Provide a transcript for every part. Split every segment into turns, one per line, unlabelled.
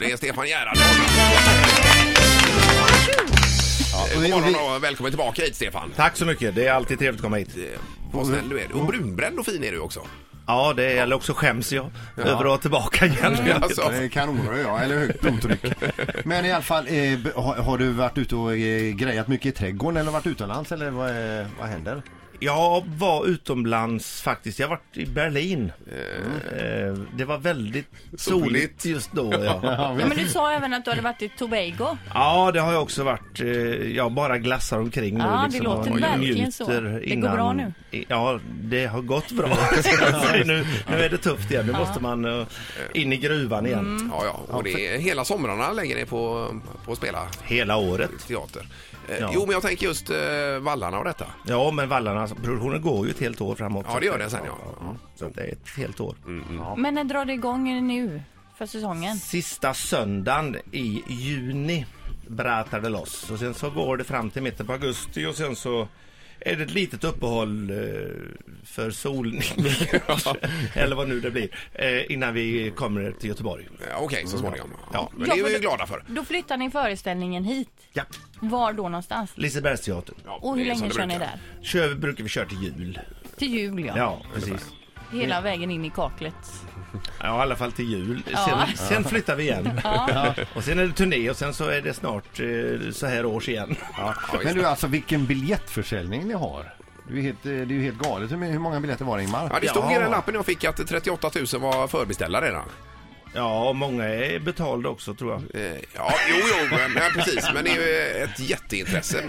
Det är Stefan Gerhardsson. Eh, God morgon och välkommen tillbaka hit Stefan.
Tack så mycket, det är alltid trevligt att komma hit.
Eh, Vad snäll du är. Och brunbränd och fin är du också.
Ja, det gäller också skäms jag över att vara tillbaka igen.
Alltså,
Eh, Kanonröd ja, eller högt blodtryck. Men i alla fall, eh, b- har, har du varit ute och eh, grejat mycket i trädgården eller varit utomlands eller vad, eh, vad händer?
Jag var utomlands faktiskt, jag har varit i Berlin. Eh, Det var väldigt soligt just då. Ja.
Ja, men du sa även att du hade varit i Tobago.
ja, det har jag också varit. eh, Jag bara glassar omkring nu. liksom
Ja, det låter
och
verkligen
njuter
så. Det går
innan-
bra nu.
Ja, det har gått bra. nu, nu är det tufft igen, nu måste man eh, in i gruvan igen.
Mm.
ja, ja. Och det är hela somrarna lägger ni på, på att spela
Hela året.
teater. Eh,
Ja.
Jo, men jag tänker just eh, vallarna och detta.
Ja, men vallarna, alltså, produktionen går ju ett helt år framåt.
Ja, det gör det sen, ja.
Så att det är ett helt år.
Mm. Men när drar det igång nu för säsongen?
Sista söndagen i juni bratar det loss. Och sen så går det fram till mitten på augusti och sen så är det ett litet uppehåll eh, för solning, eller vad nu det blir, eh, innan vi kommer till Göteborg.
Eh, Okej, så småningom. Ja, men
Ja,
det är vi
men
ju
då-
glada för.
Då flyttar ni föreställningen hit.
Ja,
Var då någonstans?
Lisebergsteatern.
Ja,
Och
det
hur
är som
länge
det
kör ni
brukar.
där?
Kör, brukar vi köra till jul.
Till jul ja.
Ja, precis.
Hela vägen in i kaklet.
Ja, i alla fall till jul. Sen,
Ja.
sen flyttar vi igen. Och sen är det turné och sen så är det snart eh, så här års igen.
Men du alltså vilken biljettförsäljning ni har. Det är ju helt, eh, det är ju helt galet. Hur, hur många biljetter var det Ingmar?
Ja, det stod i
Ja.
den lappen jag fick att 38 000 var förbeställda redan.
Ja, och många är betalda också tror jag.
Eh, Ja, jo, jo, men, men precis. Men det är ju ett jätteintresse.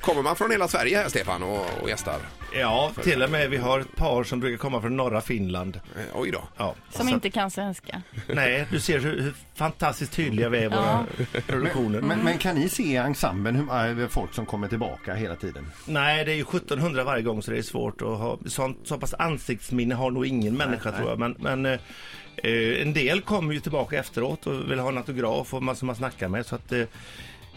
Kommer man från hela Sverige här, Stefan, och, och gästar?
Ja, till och med vi har ett par som brukar komma från norra Finland.
Eh, Oj då.
Ja.
Som
Så-
inte kan svenska.
Nej, du ser hur, hur fantastiskt tydliga vi är i våra produktioner.
Men, men kan ni se i ensemblen hur, eh, folk som kommer tillbaka hela tiden?
Nej, det är ju 1700 varje gång så det är svårt att ha sånt, så pass ansiktsminne har nog ingen människa tror jag. Men, men eh, eh, en del kommer ju tillbaka efteråt och vill ha en autograf och man, som man snackar med. Så att, eh,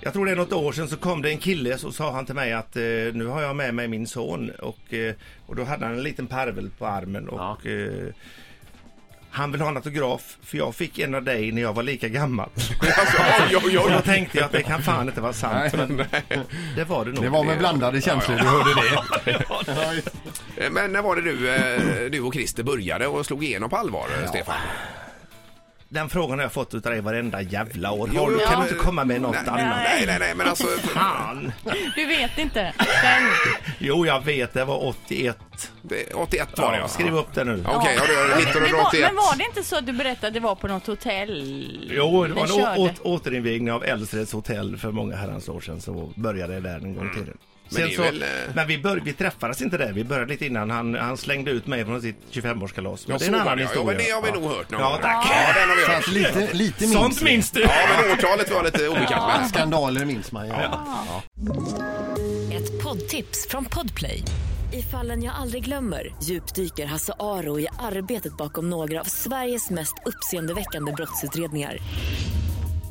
jag tror det är något år sedan så kom det en kille så sa han till mig att eh, nu har jag med mig min son och, eh, och då hade han en liten parvel på armen och eh, han vill ha en autograf för jag fick en av dig när jag var lika gammal.
Alltså, oj, oj,
Och
oj.
då tänkte jag att det kan fan inte vara sant. Men det var det nog.
Det var med blandade känslor du hörde det. Ja, just-
Eh, Men när var det du, eh, du och Christer började och slog igenom på allvar, eh, Stefan?
Den frågan har jag fått utav dig varenda jävla år.
Jo,
Har du,
jo,
kan
men-
du inte komma med något
nej,
annat?
Nej, nej, nej, men alltså...
Fan!
Du vet inte. Men,
Jo, jag vet. Det var 81.
det- 81 var det, ja.
Skriv upp det nu.
Ja, Okej, ja, det var
men, var,
1981.
men var det inte så att du berättade att det var på något hotell?
Jo, det var
Ni
en
körde.
å- å- återinvigning av Älvsreds hotell för många herrans år sedan. Så började det där en gång i tiden.
Mm. Men det är
Sen så,
väl, eh,
men vi, bör, vi träffades inte där. Vi började lite innan. Han, han slängde ut mig från sitt 25-årskalas.
Ja,
Men det
så
är en
var
annan
det, ja. Ja,
historia.
men det har vi nog hört någon
Ja,
gång.
tack.
Ja, den har vi
Så att
hört.
lite, lite minns
Sånt
vi.
minns du!
Ja, men årtalet var lite obekant. men-
Skandaler minns man ju.
Ett poddtips från Podplay. I fallen jag aldrig glömmer djupdyker Hasse Aro i arbetet bakom några av Sveriges mest uppseendeväckande brottsutredningar.